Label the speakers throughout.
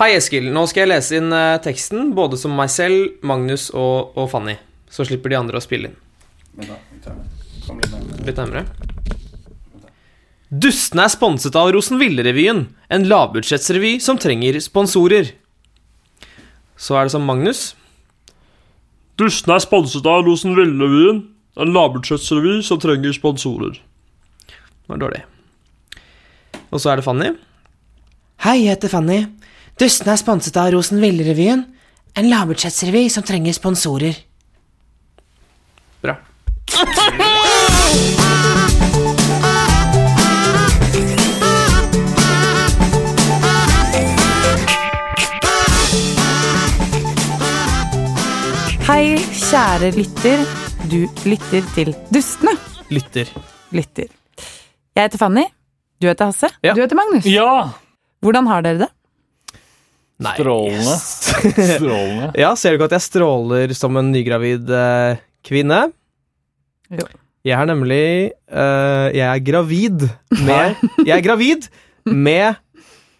Speaker 1: Hei, Eskil. Nå skal jeg lese inn eh, teksten, både som meg selv, Magnus og, og Fanny. Så slipper de andre å spille inn.
Speaker 2: Vent da, vi tar den. Kom litt nærmere.
Speaker 1: Litt nærmere. Dustene er sponset av Rosenville-revyen, en lavbudsjettsrevy som trenger sponsorer. Så er det som Magnus.
Speaker 3: Dustene er sponset av Rosenvillevyen, en lavbudsjettsrevy som trenger sponsorer.
Speaker 1: Det var dårlig. Og så er det Fanny. Hei, jeg heter Fanny. Dustene er sponset av Rosenville-revyen, en lavbudsjettsrevy som trenger sponsorer. Bra.
Speaker 4: Hei, kjære lytter. Du lytter til Dustene.
Speaker 1: Lytter.
Speaker 4: Lytter. Jeg heter Fanny. Du heter Hasse.
Speaker 1: Ja.
Speaker 4: Du heter Magnus.
Speaker 3: Ja!
Speaker 4: Hvordan har dere det?
Speaker 1: Nei.
Speaker 3: Strålende. Strålende.
Speaker 1: Ja, ser du ikke at jeg stråler som en nygravid eh, kvinne?
Speaker 4: Jo.
Speaker 1: Jeg er nemlig eh, Jeg er gravid med Jeg er gravid med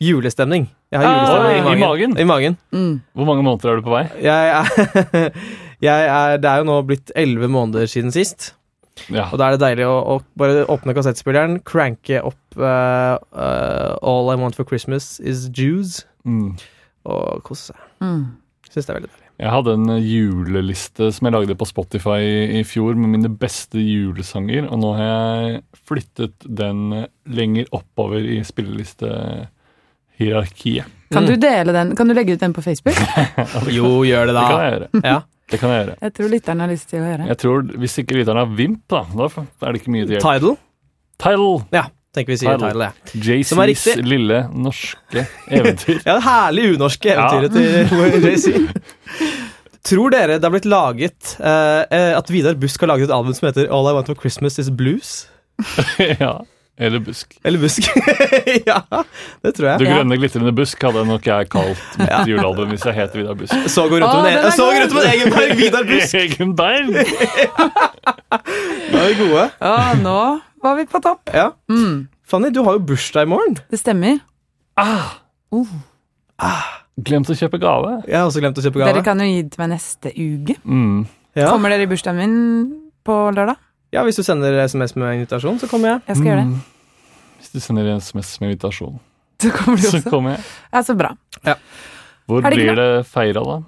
Speaker 1: julestemning. Jeg har
Speaker 4: Ah,
Speaker 1: julestemning
Speaker 3: i
Speaker 1: i magen.
Speaker 3: magen.
Speaker 1: I magen.
Speaker 4: Mm.
Speaker 3: Hvor mange måneder er du på vei?
Speaker 1: Jeg er, jeg er Det er jo nå blitt elleve måneder siden sist,
Speaker 3: Ja.
Speaker 1: og da er det deilig å, å bare åpne kassettspilleren, cranke opp eh, eh, All I Want for Christmas Is Jews,
Speaker 3: Mm.
Speaker 1: og kose seg.
Speaker 4: Mm.
Speaker 1: Syns det er veldig deilig.
Speaker 3: Jeg hadde en juleliste som jeg lagde på Spotify i, i fjor med mine beste julesanger, og nå har jeg flyttet den lenger oppover i spillelistehierarkiet.
Speaker 4: Kan
Speaker 1: Mm.
Speaker 4: du dele den? Kan du legge ut den på Facebook?
Speaker 1: Jo, gjør det,
Speaker 3: Det kan
Speaker 1: da.
Speaker 3: jeg gjøre.
Speaker 1: Ja.
Speaker 3: Det kan jeg gjøre.
Speaker 4: Jeg tror lytterne har lyst til å høre.
Speaker 3: Jeg tror, Hvis ikke lytterne har Vimp, da, da er det ikke mye til hjelp.
Speaker 1: Tidal.
Speaker 3: Tidal!
Speaker 1: Ja, tenker vi sier Tidal,
Speaker 3: Tidal.
Speaker 1: ja. Som er
Speaker 3: JCs
Speaker 1: riktig.
Speaker 3: lille norske eventyr.
Speaker 1: Ja, det herlig unorske
Speaker 3: Ja.
Speaker 1: eventyret til JC. Tror dere det har blitt laget eh, eh, at Vidar Busk har laget et album som heter All I Want for Christmas Is Blues?
Speaker 3: ja. Eller busk.
Speaker 1: Eller Busk? ja, det tror
Speaker 3: Du
Speaker 1: jeg.
Speaker 3: grønne glitrende busk hadde nok jeg kalt mitt julealbum hvis jeg het Vidar Busk.
Speaker 1: Så går rundt om
Speaker 4: Å,
Speaker 1: en, e-
Speaker 4: den er
Speaker 1: så går rundt om en egen berg, Vidar Busk!
Speaker 3: Egen bein!
Speaker 1: Ja, vi er gode.
Speaker 4: Å, nå var vi på topp.
Speaker 1: Ja.
Speaker 4: Mm.
Speaker 1: Fanny, du har jo bursdag i morgen.
Speaker 4: Det stemmer.
Speaker 3: Ah,
Speaker 4: Oh,
Speaker 3: glemt å kjøpe gave.
Speaker 1: Jeg har også glemt å kjøpe
Speaker 4: dere
Speaker 1: gave.
Speaker 4: kan jo gi det til meg neste uke.
Speaker 3: Mm.
Speaker 1: Ja.
Speaker 4: Kommer dere i bursdagen min på lørdag?
Speaker 1: ja, Hvis du sender SMS med invitasjon, så kommer jeg.
Speaker 4: Jeg skal gjøre det.
Speaker 3: Mm. Hvis du sender en SMS med invitasjon,
Speaker 4: Så kommer du
Speaker 3: så
Speaker 4: også.
Speaker 3: kommer jeg.
Speaker 4: Ja, så bra.
Speaker 3: Hvor
Speaker 4: Er det ikke
Speaker 3: blir det feira, da?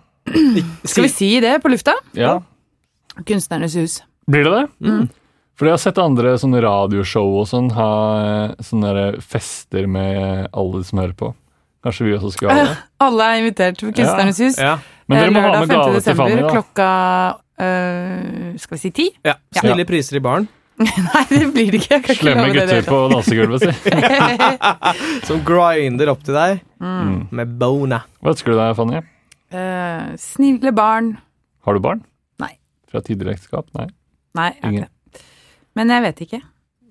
Speaker 4: Skal vi si det på lufta?
Speaker 3: Ja.
Speaker 4: Kunstnernes hus.
Speaker 3: Blir det det?
Speaker 1: Mm.
Speaker 3: For jeg har sett andre sånne radioshow og sånn ha eh, sånne der fester med alle som hører på. Kanskje vi også skal ha det.
Speaker 4: Alle er invitert til Kunstnernes hus.
Speaker 1: Ja.
Speaker 3: Men dere må ha
Speaker 4: lørdag
Speaker 3: med gave til
Speaker 4: desember
Speaker 3: Fanny, da.
Speaker 4: klokka øh, Skal vi si ti?
Speaker 1: ja. Snille priser i baren.
Speaker 4: Nei, det blir det ikke. Jeg kan ikke
Speaker 3: Slemme
Speaker 4: love
Speaker 3: gutter
Speaker 4: det
Speaker 3: på dansegulvet, si.
Speaker 4: dere.
Speaker 1: Som grinder opp til deg
Speaker 3: Mm.
Speaker 1: med bona.
Speaker 3: Hva ønsker du deg, Fanny?
Speaker 4: Eh, snille barn.
Speaker 3: Har du barn?
Speaker 4: Nei.
Speaker 3: Fra tidligere ekteskap? Nei.
Speaker 4: Nei, jeg har
Speaker 3: Ingen.
Speaker 4: ikke det. Men jeg vet ikke.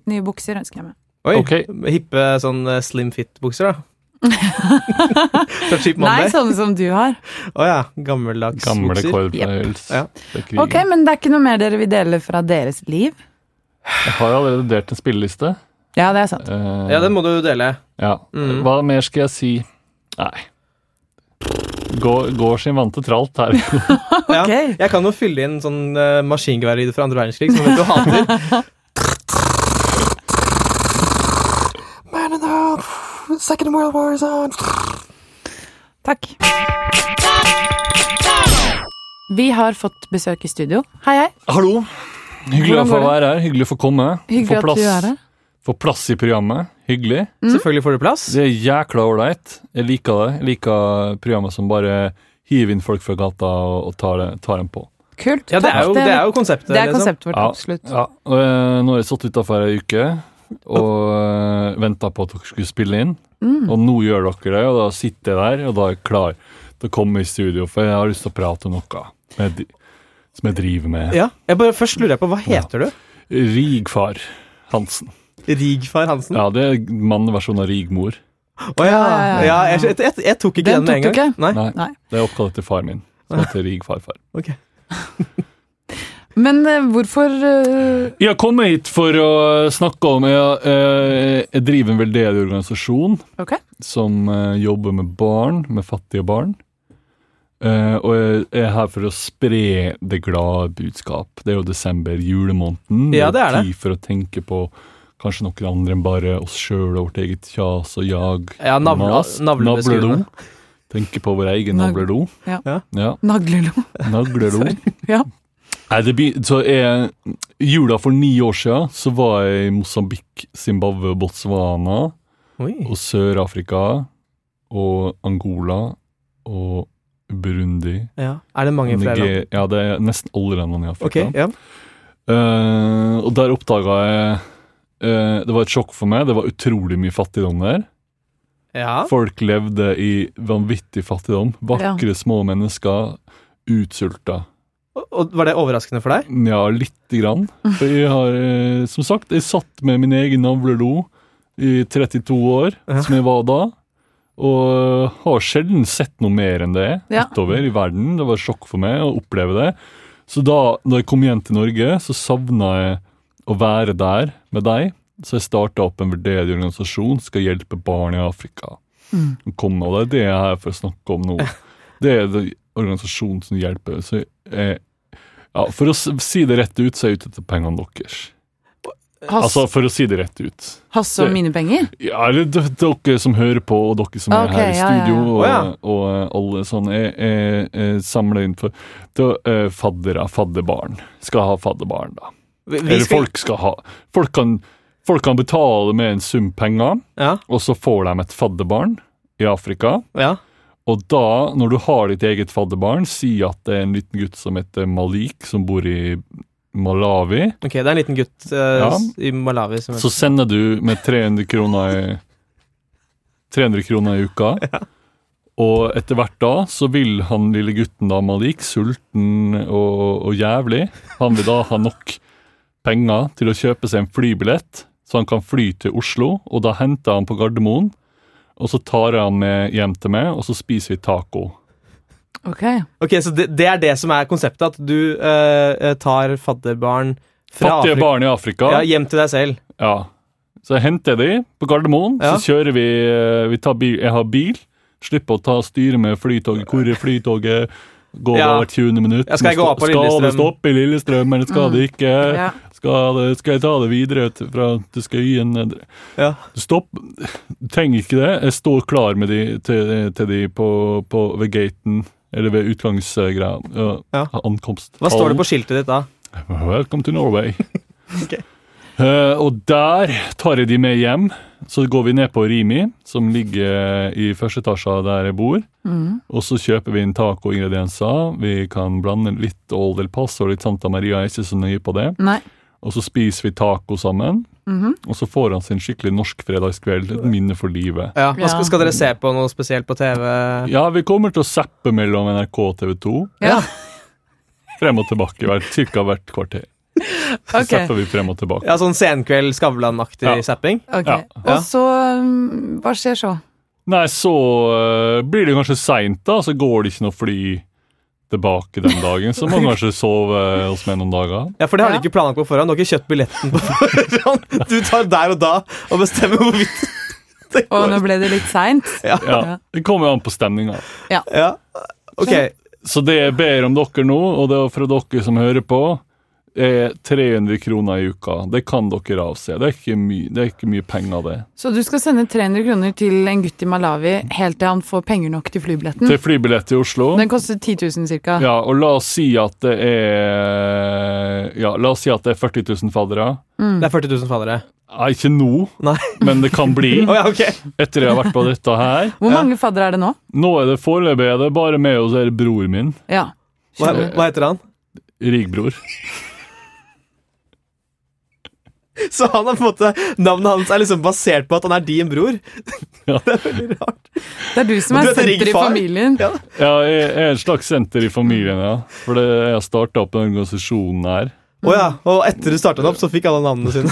Speaker 4: Nye bukser ønsker jeg meg.
Speaker 1: Oi,
Speaker 3: Ok.
Speaker 1: hippe sånn eh, slim fit-bukser, da. Fra Cheap
Speaker 4: Nei,
Speaker 1: Monday? Å
Speaker 4: sånne som du har.
Speaker 1: ja, gammeldags
Speaker 3: Gamle
Speaker 1: bukser.
Speaker 3: kårbøyels.
Speaker 1: Ja.
Speaker 4: Ok, men det er ikke noe mer dere vil dele fra deres liv?
Speaker 3: Jeg har allerede delt en spilleliste.
Speaker 4: Ja, det er sant.
Speaker 3: Eh,
Speaker 1: Ja, den må du dele.
Speaker 3: ja.
Speaker 1: Mm.
Speaker 3: Hva mer skal jeg si? Nei. Går, går sin vante tralt her.
Speaker 1: Ja.
Speaker 4: Ok.
Speaker 1: Jeg kan jo fylle inn sånn uh, maskingeværlyd fra andre verdenskrig, som jeg vet du hater.
Speaker 4: Takk. Vi har fått besøk i studio. Hei, hei.
Speaker 3: Hallo! Hyggelig å
Speaker 4: Hvordan
Speaker 3: få
Speaker 4: går
Speaker 3: være her. Hyggelig å få komme.
Speaker 4: Hyggelig
Speaker 3: få
Speaker 4: at du er her.
Speaker 3: Få plass i programmet. Hyggelig.
Speaker 4: Mhm.
Speaker 1: Selvfølgelig får du plass.
Speaker 3: Det er jækla ålreit. Jeg liker det. Jeg liker programmet som bare hiver inn folk fra gata og, og tar, det- tar dem på.
Speaker 4: Kult.
Speaker 1: Ja, det er jo,
Speaker 4: Takk.
Speaker 1: det er jo konseptet.
Speaker 4: det er
Speaker 1: liksom.
Speaker 4: konseptet vårt,
Speaker 3: Ja.
Speaker 4: absolutt.
Speaker 3: Ja, og, eh, nå har jeg satt utafor ei uke og venta på at dere skulle spille inn.
Speaker 1: Mm.
Speaker 3: Og nå gjør dere det, og da sitter jeg der, og da er jeg klar til å komme i studio, for jeg har lyst til å prate om noe som jeg, som jeg driver med.
Speaker 1: Ja. Jeg bare Først lurer jeg på, hva heter du?
Speaker 3: Rigfar Hansen.
Speaker 1: Rigfar Hansen? Å
Speaker 3: Ja, det er manneversjonen av Rigmor.
Speaker 1: ja.
Speaker 4: Ja, ja,
Speaker 1: ja
Speaker 4: ja.
Speaker 1: jeg, jeg, jeg, jeg tok ikke
Speaker 4: Den
Speaker 1: den, med en
Speaker 4: tok du
Speaker 1: gang. Nei.
Speaker 3: Nei,
Speaker 4: Nei.
Speaker 3: det er oppkalt etter far min, som heter Rigfarfar.
Speaker 1: ok.
Speaker 4: Men eh, hvorfor eh,
Speaker 3: Jeg kom hit for å snakke om Jeg, eh, jeg driver en veldedig organisasjon
Speaker 4: Ok.
Speaker 3: som eh, jobber med barn, med fattige barn. Eh, og jeg er her for å spre det glade budskap. Det er jo desember, julemåneden.
Speaker 1: Ja, det er det.
Speaker 3: Tid for å tenke på kanskje noen andre enn bare oss sjøl og vårt eget kjas og jag.
Speaker 1: Ja, altså, navla-
Speaker 3: mas,
Speaker 1: navlebeskuende.
Speaker 3: navlelo. Tenke på vår egen
Speaker 4: Nag-
Speaker 3: navlelo.
Speaker 4: Ja.
Speaker 1: Ja.
Speaker 3: ja.
Speaker 4: Naglelo.
Speaker 3: Naglelo.
Speaker 4: Ja.
Speaker 3: Nei, det begyn- så jeg, jula for ni år siden så var jeg i Mosambik, Zimbabwe, Botswana
Speaker 1: Oi.
Speaker 3: og Sør-Afrika og Angola og Burundi.
Speaker 1: Ja. Er det mange flere land?
Speaker 3: Niger- Ja, det er nesten alle landene i
Speaker 1: Ok,
Speaker 3: Afrika.
Speaker 1: ja.
Speaker 3: Eh, og der oppdaga jeg eh, Det var et sjokk for meg. Det var utrolig mye fattigdom der.
Speaker 1: ja.
Speaker 3: Folk levde i vanvittig fattigdom. Vakre, små mennesker. Utsulta.
Speaker 1: Og- Og var det overraskende for deg?
Speaker 3: Ja, lite grann. For jeg har, eh, som sagt, jeg satt med min egen navlelo i 32 år,
Speaker 1: Ja.
Speaker 3: som jeg var da, og har sjelden sett noe mer enn det
Speaker 4: Ja.
Speaker 3: utover i verden. Det var et sjokk for meg å oppleve det. Så da, da jeg kom hjem til Norge, så savna jeg å være der med deg. Så jeg starta opp en veldedig organisasjon som skal hjelpe barn i Afrika. å Komme, og det er det jeg er her for å snakke om nå. Det er det organisasjonen som hjelper. Så jeg ja, For å s- si det rett ut, så er jeg ute etter pengene deres.
Speaker 4: Hass,
Speaker 3: Altså, for å si det rett ut.
Speaker 4: Hasse og mine penger?
Speaker 3: Ja, eller d- dere som hører på, og dere som
Speaker 4: Ok,
Speaker 3: er her
Speaker 4: ja,
Speaker 3: i
Speaker 4: ja, ja.
Speaker 3: studio,
Speaker 1: Å, ja.
Speaker 3: Og, og eh, alle sånn er, er, er samla inn for da, eh, Faddere, fadderbarn. Skal ha fadderbarn, da.
Speaker 1: Vi, vi
Speaker 3: Eller
Speaker 1: skal-
Speaker 3: folk skal ha. Folk kan, folk kan betale med en sum penger,
Speaker 1: Ja,
Speaker 3: og så får de et fadderbarn i Afrika.
Speaker 1: ja.
Speaker 3: Og da, når du har ditt eget fadderbarn, si at det er en liten gutt som heter Malik, som bor i Malawi.
Speaker 1: Ok, det er en liten gutt eh,
Speaker 3: Ja.
Speaker 1: s- i Malawi som
Speaker 3: Så sender du med 300 kroner i, 300 kroner i uka. Og etter hvert da så vil han lille gutten da Malik, sulten og, og jævlig, han vil da ha nok penger til å kjøpe seg en flybillett, så han kan fly til Oslo, og da henter han på Gardermoen, og så tar jeg han med hjem til meg, og så spiser vi taco.
Speaker 4: Ok.
Speaker 1: Ok, så det, det er det som er konseptet, at du eh, tar fadderbarn fra
Speaker 3: Fattige
Speaker 1: Afrika
Speaker 3: barn i Afrika.
Speaker 1: ja, hjem til deg selv.
Speaker 3: Ja. Så jeg henter de på Gardermoen,
Speaker 1: Ja.
Speaker 3: så kjører vi, eh, vi tar bil, Jeg har bil. Slipper å ta styre med flytoget. Hvor er flytoget? Går
Speaker 1: Ja.
Speaker 3: hvert 20. minutt.
Speaker 1: Ja, skal jeg
Speaker 3: Må
Speaker 1: gå
Speaker 3: stå-
Speaker 1: av på
Speaker 3: Skal det
Speaker 1: Lillestrøm?
Speaker 3: stoppe i Lillestrøm, eller skal
Speaker 4: Mm.
Speaker 3: det ikke?
Speaker 4: Ja.
Speaker 3: Skal, det, skal jeg ta det videre til, fra, til Skøyen?
Speaker 1: Ja.
Speaker 3: Stopp. Du trenger ikke det. Jeg står klar med de, til, til de på, på, ved gaten, eller ved utgangsgreia. Ja.
Speaker 1: Ja.
Speaker 3: Ankomst.
Speaker 1: Hva står det på skiltet ditt da?
Speaker 3: Welcome to Norway.
Speaker 1: Ok.
Speaker 3: Eh, og der tar jeg de med hjem. Så går vi ned på Rimi, som ligger i første etasje der jeg bor. Og så kjøper vi inn tacoingredienser. Vi kan blande litt Old El Paso og litt Santa Maria. Jeg er ikke så nøye på det.
Speaker 4: Nei.
Speaker 3: Og så spiser vi taco sammen. Og så får han sin skikkelig norsk fredagskveld. Et minne for livet.
Speaker 1: Ja, hva
Speaker 4: Ja.
Speaker 1: skal, skal dere se på noe spesielt på TV?
Speaker 3: Ja, vi kommer til å zappe mellom NRK og TV 2.
Speaker 4: Ja.
Speaker 3: Frem og tilbake hvert, ca. hvert kvarter. Så
Speaker 4: Ok.
Speaker 3: zapper vi frem og tilbake.
Speaker 1: Ja, sånn Senkveld Skavlan-aktig
Speaker 3: Ja.
Speaker 1: zapping?
Speaker 4: ok.
Speaker 3: Ja.
Speaker 1: Ja.
Speaker 4: Og så um, Hva skjer så?
Speaker 3: Nei, så øh, blir det kanskje seint, da. Så går det ikke noe fly tilbake den dagen. Så må man kanskje sove eh, hos meg noen dager.
Speaker 1: Ja, for det har
Speaker 4: Ja.
Speaker 1: dere ikke planlagt på forhånd. Du har ikke kjøpt billetten på forhånd. Du tar der og da og bestemmer hvorvidt det
Speaker 4: Og
Speaker 1: går.
Speaker 4: nå ble det litt seint. Ja.
Speaker 3: Ja, Det kommer jo an på stemninga.
Speaker 1: Ja. Ok,
Speaker 3: Så det jeg ber om dere nå, og det er fra dere som hører på, er 300 kroner i uka. Det kan dere avse. Det er ikke mye, det er ikke mye penger, det.
Speaker 4: Så du skal sende 300 kroner til en gutt i Malawi helt til han får penger nok til flybilletten?
Speaker 3: Til flybillett til Oslo.
Speaker 4: Den koster 10 000 cirka.
Speaker 3: Ja, og la oss si at det er Ja, la oss si at det er 40 000 faddere.
Speaker 1: det er 40 000 fallere.
Speaker 3: Nei, ikke nå,
Speaker 1: Nei.
Speaker 3: men det kan bli.
Speaker 1: Å ja, ok.
Speaker 3: Etter jeg har vært på dette her.
Speaker 4: Hvor
Speaker 1: Ja.
Speaker 4: mange faddere er det nå?
Speaker 3: Nå er det foreløpig er det bare meg og så er det bror min.
Speaker 4: Ja.
Speaker 1: Hva, hva heter han?
Speaker 3: Rigbror.
Speaker 1: Så han har på en måte, navnet hans er liksom basert på at han er din bror?
Speaker 3: Ja.
Speaker 1: Det er veldig rart.
Speaker 4: Det er du som
Speaker 1: Og
Speaker 4: er
Speaker 1: du heter
Speaker 4: senter i
Speaker 1: Ringfar?
Speaker 4: familien.
Speaker 1: Ja.
Speaker 3: Ja, jeg jeg er et slags senter i familien, ja. For det, jeg har starta opp den organisasjonen her.
Speaker 1: Å ja, Og etter du starta den opp, så fikk alle navnene sine?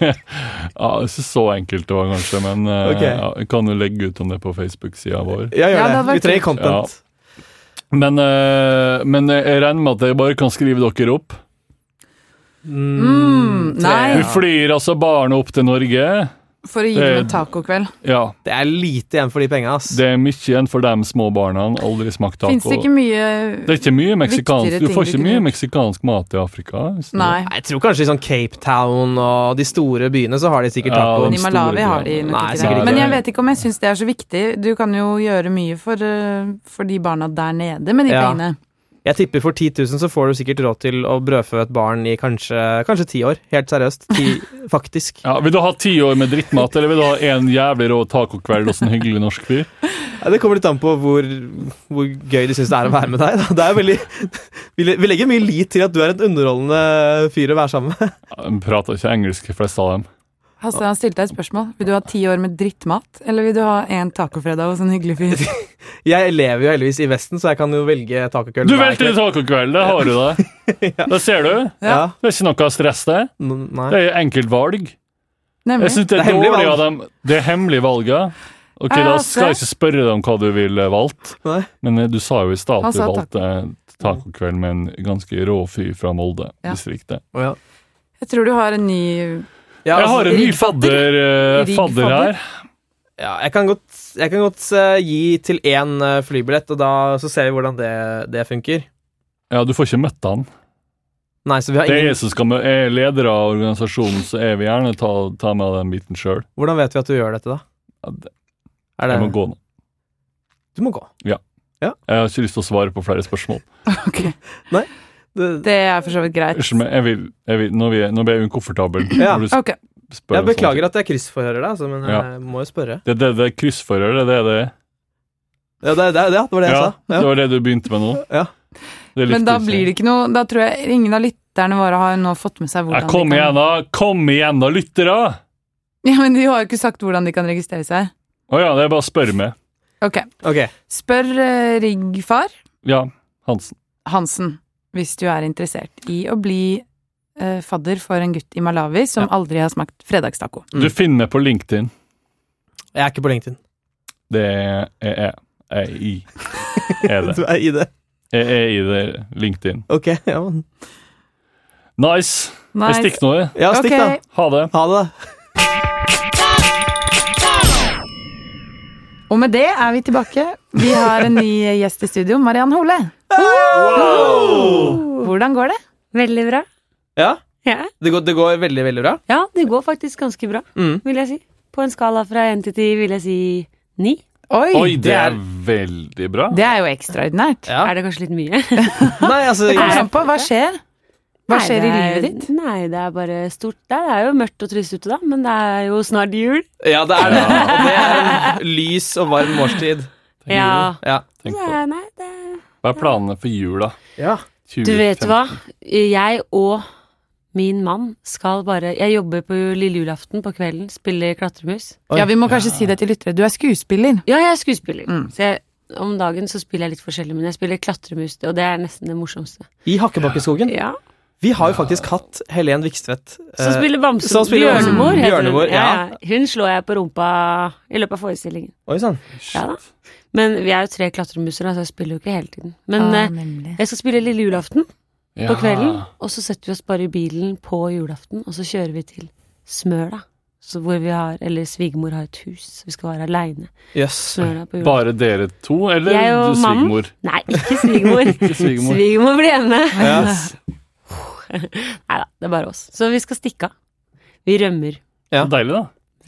Speaker 3: Ja, Ikke så enkelt det var, kanskje, men eh,
Speaker 1: Ok.
Speaker 3: ja, jeg kan jo legge ut om det på Facebook-sida vår.
Speaker 1: Ja,
Speaker 4: Ja,
Speaker 1: gjør
Speaker 4: det
Speaker 1: det.
Speaker 4: hadde vært
Speaker 1: Vi trenger
Speaker 4: kult.
Speaker 1: content.
Speaker 3: Men, eh, men jeg regner med at jeg bare kan skrive dere opp.
Speaker 4: Mm, nei,
Speaker 3: Du flyr altså barnet opp til Norge.
Speaker 4: for å gi dem en tacokveld.
Speaker 3: Ja,
Speaker 1: Det er lite igjen for de penga, ass.
Speaker 3: det er mye igjen for de små barna. Aldri smakt taco.
Speaker 4: Fins det ikke
Speaker 3: Det
Speaker 4: mye
Speaker 3: er ikke mye meksikansk.
Speaker 4: Viktigere
Speaker 3: Du får
Speaker 4: ting
Speaker 3: ikke
Speaker 4: du
Speaker 3: mye
Speaker 4: kunne-
Speaker 3: meksikansk mat i Afrika. hvis du-
Speaker 4: Nei.
Speaker 1: Nei, Jeg tror kanskje i sånn Cape Town og de store byene så har de sikkert
Speaker 3: Ja,
Speaker 1: taco.
Speaker 4: Men
Speaker 3: de
Speaker 4: i
Speaker 3: store
Speaker 4: Malawi har de
Speaker 3: greiene.
Speaker 4: nok
Speaker 1: Nei,
Speaker 4: ikke
Speaker 1: sikkert
Speaker 4: det.
Speaker 1: ikke.
Speaker 4: Men jeg vet ikke om jeg syns det er så viktig. Du kan jo gjøre mye for, eh, for de barna der nede med de
Speaker 1: Ja.
Speaker 4: pengene.
Speaker 1: Jeg tipper for 10 000 så får du sikkert råd til å brødfø et barn i kanskje, kanskje 10 år. Helt seriøst. Ti, faktisk.
Speaker 3: Ja, vil du ha ti år med drittmat, eller vil du ha en jævlig rå tacokveld hos en hyggelig norsk fyr?
Speaker 1: Ja, det kommer litt an på hvor, hvor gøy de syns det er å være med deg. Da. Det er veldig, vi le- vi legger mye lit til at du er en underholdende fyr å være sammen med.
Speaker 3: Ja, De prater ikke engelsk, de fleste av dem.
Speaker 4: Hasse, han stilte deg et spørsmål. Vil du ha ti år med drittmat, eller vil du ha en tacofredag hos en hyggelig fyr?
Speaker 1: Jeg lever jo heldigvis i Vesten, så jeg kan jo velge tacokøll.
Speaker 3: Du
Speaker 1: hver
Speaker 3: velter i
Speaker 1: kveld.
Speaker 3: tacokveld, det har du det. Det ser du.
Speaker 1: Ja.
Speaker 3: Det er ikke noe stress, det.
Speaker 1: N- Nei.
Speaker 3: Det er enkelt valg. Jeg
Speaker 4: Nemlig.
Speaker 3: synes det
Speaker 1: Det
Speaker 3: er
Speaker 1: er hemmelig
Speaker 3: dårlig
Speaker 1: valg.
Speaker 3: av dem. Det er hemmelig valg, ja. Ok,
Speaker 4: Ja,
Speaker 3: Da
Speaker 4: altså.
Speaker 3: skal jeg ikke spørre deg om hva du ville valgt,
Speaker 1: Nei.
Speaker 3: men eh, du sa jo i stad
Speaker 4: Han
Speaker 3: at du
Speaker 4: sa
Speaker 3: valgte tacokveld med en ganske rå fyr fra Molde-distriktet.
Speaker 1: Å, ja.
Speaker 4: Jeg tror du har en ny
Speaker 1: Ja, altså,
Speaker 3: Jeg har en ny
Speaker 4: riggfadder.
Speaker 3: fadder, eh,
Speaker 4: Riggfadder.
Speaker 3: fadder her.
Speaker 1: Ja, jeg kan godt, jeg kan godt eh, gi til én eh, flybillett, og da så ser vi hvordan det, det funker.
Speaker 3: Ja, du får ikke møtt han.
Speaker 1: Nei, så vi har
Speaker 3: Det er
Speaker 1: ingen,
Speaker 3: jeg som skal mø- er leder av organisasjonen, så jeg vil gjerne ta, ta med den biten sjøl.
Speaker 1: Hvordan vet vi at du gjør dette, da?
Speaker 3: Ja, det-
Speaker 1: Er det,
Speaker 3: Jeg må gå nå.
Speaker 1: Du må gå.
Speaker 3: Jeg har ikke lyst til å svare på flere spørsmål.
Speaker 4: Ok,
Speaker 1: Det,
Speaker 4: Det er for så vidt greit.
Speaker 3: Unnskyld meg, jeg vil, jeg vil, nå, blir jeg, nå ble jeg ukomfortabel.
Speaker 1: Ja.
Speaker 3: når du
Speaker 4: Ok,
Speaker 3: spør
Speaker 1: jeg
Speaker 3: om sånne ting.
Speaker 1: beklager at jeg kryssforhører deg, altså, men
Speaker 3: sånn Ja.
Speaker 1: jeg må jo spørre.
Speaker 3: Det, det, det er kryssfører, det er det det er.
Speaker 1: Ja, det, det, det var det jeg
Speaker 3: Ja,
Speaker 1: sa.
Speaker 3: det
Speaker 1: Ja.
Speaker 3: var det du begynte med nå.
Speaker 1: Ja.
Speaker 3: Det likte
Speaker 4: Men da
Speaker 3: jeg ikke.
Speaker 4: blir det ikke noe Da tror jeg ingen av lytterne våre har nå fått med seg
Speaker 3: ja,
Speaker 4: hvordan
Speaker 3: Kom
Speaker 4: de
Speaker 3: igjen,
Speaker 4: kan
Speaker 3: da! Kom igjen, da, lyttere!
Speaker 4: Ja, Men de har jo ikke sagt hvordan de kan registrere seg.
Speaker 3: Å ja, det er bare å spørre med.
Speaker 4: Ok.
Speaker 1: Ok.
Speaker 4: Spør eh, riggfar
Speaker 3: Ja, Hansen.
Speaker 4: Hansen hvis du er interessert i å bli eh, fadder for en gutt i Malawi som aldri har smakt fredagstaco.
Speaker 1: Mm.
Speaker 3: Du finner meg på LinkedIn.
Speaker 1: Jeg er ikke på LinkedIn.
Speaker 3: Det er jeg. Jeg er i. Er det.
Speaker 1: Du er i det.
Speaker 3: Jeg er i det. LinkedIn.
Speaker 1: Ok. Ja, men.
Speaker 3: Nice! Jeg
Speaker 4: Nice.
Speaker 3: stikker nå, jeg.
Speaker 1: ja stikk,
Speaker 4: Ok.
Speaker 3: Ha det.
Speaker 1: da. Ha det.
Speaker 4: Og med det er vi tilbake. Vi har en ny gjest i studio, Mariann Hole. Hvordan går det?
Speaker 5: Veldig bra.
Speaker 1: Ja,
Speaker 5: Ja.
Speaker 1: det går, det går veldig, veldig bra.
Speaker 5: ja, det går faktisk ganske bra,
Speaker 1: Mm.
Speaker 5: vil jeg si. På en skala fra én til ti vil jeg si ni.
Speaker 4: Oi!
Speaker 3: Oi, det
Speaker 1: er-
Speaker 3: er veldig bra.
Speaker 4: Det er jo ekstraordinært.
Speaker 1: Ja.
Speaker 5: Er det kanskje litt mye?
Speaker 1: Nei, altså
Speaker 4: Det kommer
Speaker 1: jeg,
Speaker 4: an på hva skjer. Hva
Speaker 5: Nei,
Speaker 4: skjer
Speaker 5: det
Speaker 4: i
Speaker 5: er-
Speaker 4: livet ditt?
Speaker 5: Nei, det er bare stort der. Det er jo mørkt og trist ute, da, men det er jo snart jul.
Speaker 1: Ja, det er det. Og det er en lys og varm årstid.
Speaker 5: Ja.
Speaker 1: Ja.
Speaker 5: Det
Speaker 3: Tenk på det.
Speaker 5: er, nei, det er...
Speaker 3: Hva er planene for jula?
Speaker 1: ja.
Speaker 3: 2015?
Speaker 5: Du vet hva? Jeg og min mann skal bare Jeg jobber på lille julaften på kvelden, spiller klatremus.
Speaker 1: Oi.
Speaker 4: Ja, Vi må kanskje si det til lyttere. Du er skuespiller.
Speaker 5: Ja, jeg er skuespiller.
Speaker 4: Mm.
Speaker 5: Så jeg, om dagen så spiller jeg litt forskjellig, men jeg spiller klatremus, og det er nesten det morsomste.
Speaker 1: I Hakkebakkeskogen.
Speaker 5: Ja.
Speaker 1: Vi har jo faktisk hatt Helen Vikstvedt.
Speaker 5: Som
Speaker 1: eh,
Speaker 5: spiller Bamse.
Speaker 1: som spiller Bamse.
Speaker 5: Bjørnebår, heter
Speaker 1: Bjørnebår,
Speaker 5: hun. Ja, ja. Hun slår jeg på rumpa i løpet av forestillingen.
Speaker 1: Oi sånn. sann.
Speaker 5: Ja da. Men vi er jo tre klatremusere, så jeg spiller jo ikke hele tiden. Men
Speaker 4: Ah,
Speaker 5: eh,
Speaker 4: nemlig.
Speaker 5: jeg skal spille lille julaften
Speaker 3: Ja.
Speaker 5: på kvelden, og så setter vi oss bare i bilen på julaften, og så kjører vi til Smøla. Så hvor vi har, eller svigermor har et hus, så vi skal være aleine.
Speaker 1: Jøss.
Speaker 5: Smøla på julaften.
Speaker 3: Bare dere to, eller
Speaker 5: Jeg og
Speaker 3: du svigermor?
Speaker 5: Nei, ikke svigermor.
Speaker 3: Ikke svigermor.
Speaker 5: svigermor blir hjemme.
Speaker 1: Yes.
Speaker 5: Nei da, det er bare oss. Så vi skal stikke av. Vi rømmer.
Speaker 1: Ja.
Speaker 3: Deilig, da.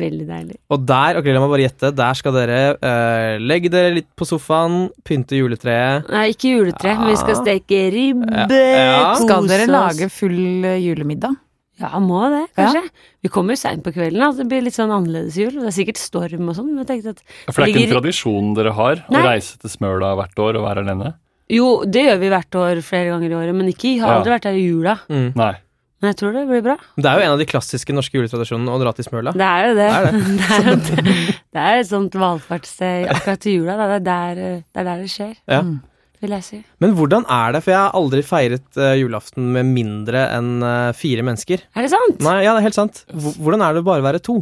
Speaker 5: Veldig deilig.
Speaker 1: Og der ok, la meg bare gjette, der skal dere eh, legge dere litt på sofaen, pynte juletreet.
Speaker 5: Nei, ikke juletre, men vi skal steke ribbe.
Speaker 1: Ja.
Speaker 5: kose
Speaker 4: Skal dere
Speaker 5: oss.
Speaker 4: lage full eh, julemiddag?
Speaker 5: Ja, må det, kanskje. Vi kommer jo seint på kvelden, da, så det blir litt sånn annerledes jul. Det er sikkert storm og sånn, men jeg tenkte at
Speaker 3: For det er ikke en
Speaker 5: Ligger-
Speaker 3: tradisjon dere har
Speaker 5: Nei.
Speaker 3: å reise til Smøla hvert år og være alene?
Speaker 5: Jo, det gjør vi hvert år flere ganger i året, men ikke har aldri
Speaker 3: Ja.
Speaker 5: vært der i jula.
Speaker 3: Nei.
Speaker 5: Men jeg tror det blir bra.
Speaker 1: Det er jo en av de klassiske norske juletradisjonene å dra til Smøla.
Speaker 5: Det er jo det.
Speaker 1: Det er
Speaker 5: Det er, jo det. det er et sånt valfartssted akkurat til jula. Da. Det, er der, eh, det er der det skjer,
Speaker 1: Ja.
Speaker 4: Mm.
Speaker 5: vil jeg si.
Speaker 1: Men hvordan er det, for jeg har aldri feiret eh, julaften med mindre enn eh, fire mennesker.
Speaker 5: Er det sant?
Speaker 1: Nei, ja, det er helt sant. H hvordan er det å bare være to?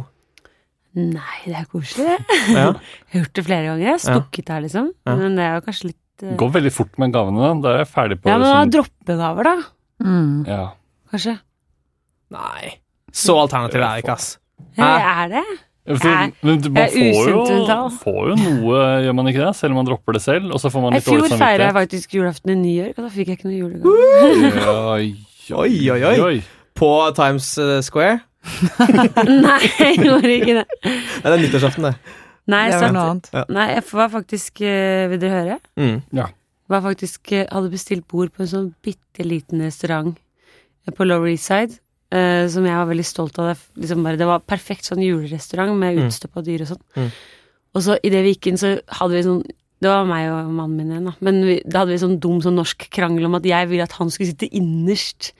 Speaker 5: Nei, det er koselig, det.
Speaker 1: Ja.
Speaker 5: Jeg har gjort det flere ganger. Jeg har stukket her, liksom.
Speaker 1: Ja.
Speaker 5: Men det er jo kanskje litt eh,
Speaker 3: Det går veldig fort med gavene. da. Da er jeg ferdig på
Speaker 1: sånn-
Speaker 5: Ja, men
Speaker 3: det
Speaker 5: da
Speaker 3: som
Speaker 5: droppegaver, da.
Speaker 4: Mm.
Speaker 3: ja.
Speaker 5: Kanskje.
Speaker 1: Nei. Så alternativ er det ikke, ass.
Speaker 5: Er det?
Speaker 3: Ja, for- Men du- man
Speaker 5: jeg er
Speaker 3: får jo,
Speaker 5: usentinentral.
Speaker 3: får jo noe, gjør man ikke det? Selv om man dropper det selv, og så får man
Speaker 5: I
Speaker 3: Sånn litt dårlig
Speaker 5: fjor feira jeg
Speaker 3: samvittighet.
Speaker 5: faktisk julaften i New York, og da fikk jeg ikke noe julegave.
Speaker 3: Oi,
Speaker 1: Oi, oi, oi. På Times eh, Square.
Speaker 5: Nei, jeg gjorde ikke det.
Speaker 1: Nei, det er nyttårsaften, det.
Speaker 5: Nei,
Speaker 4: Det
Speaker 5: jeg,
Speaker 4: var noe
Speaker 5: satt,
Speaker 4: annet.
Speaker 5: nei, jeg var faktisk eh, Vil dere høre?
Speaker 1: Mm.
Speaker 5: Var faktisk, eh, hadde bestilt bord på en sånn bitte liten restaurant eh, på Lower East Side. eh, som jeg var veldig stolt av. Det, f- liksom bare, det var perfekt sånn julerestaurant med
Speaker 1: Mm.
Speaker 5: utstøppa dyr og sånn.
Speaker 1: Mm.
Speaker 5: Og så idet vi gikk inn, så hadde vi sånn Det var meg og mannen min igjen, da. Men vi, da hadde vi sånn dum sånn norsk krangel om at jeg ville at han skulle sitte innerst.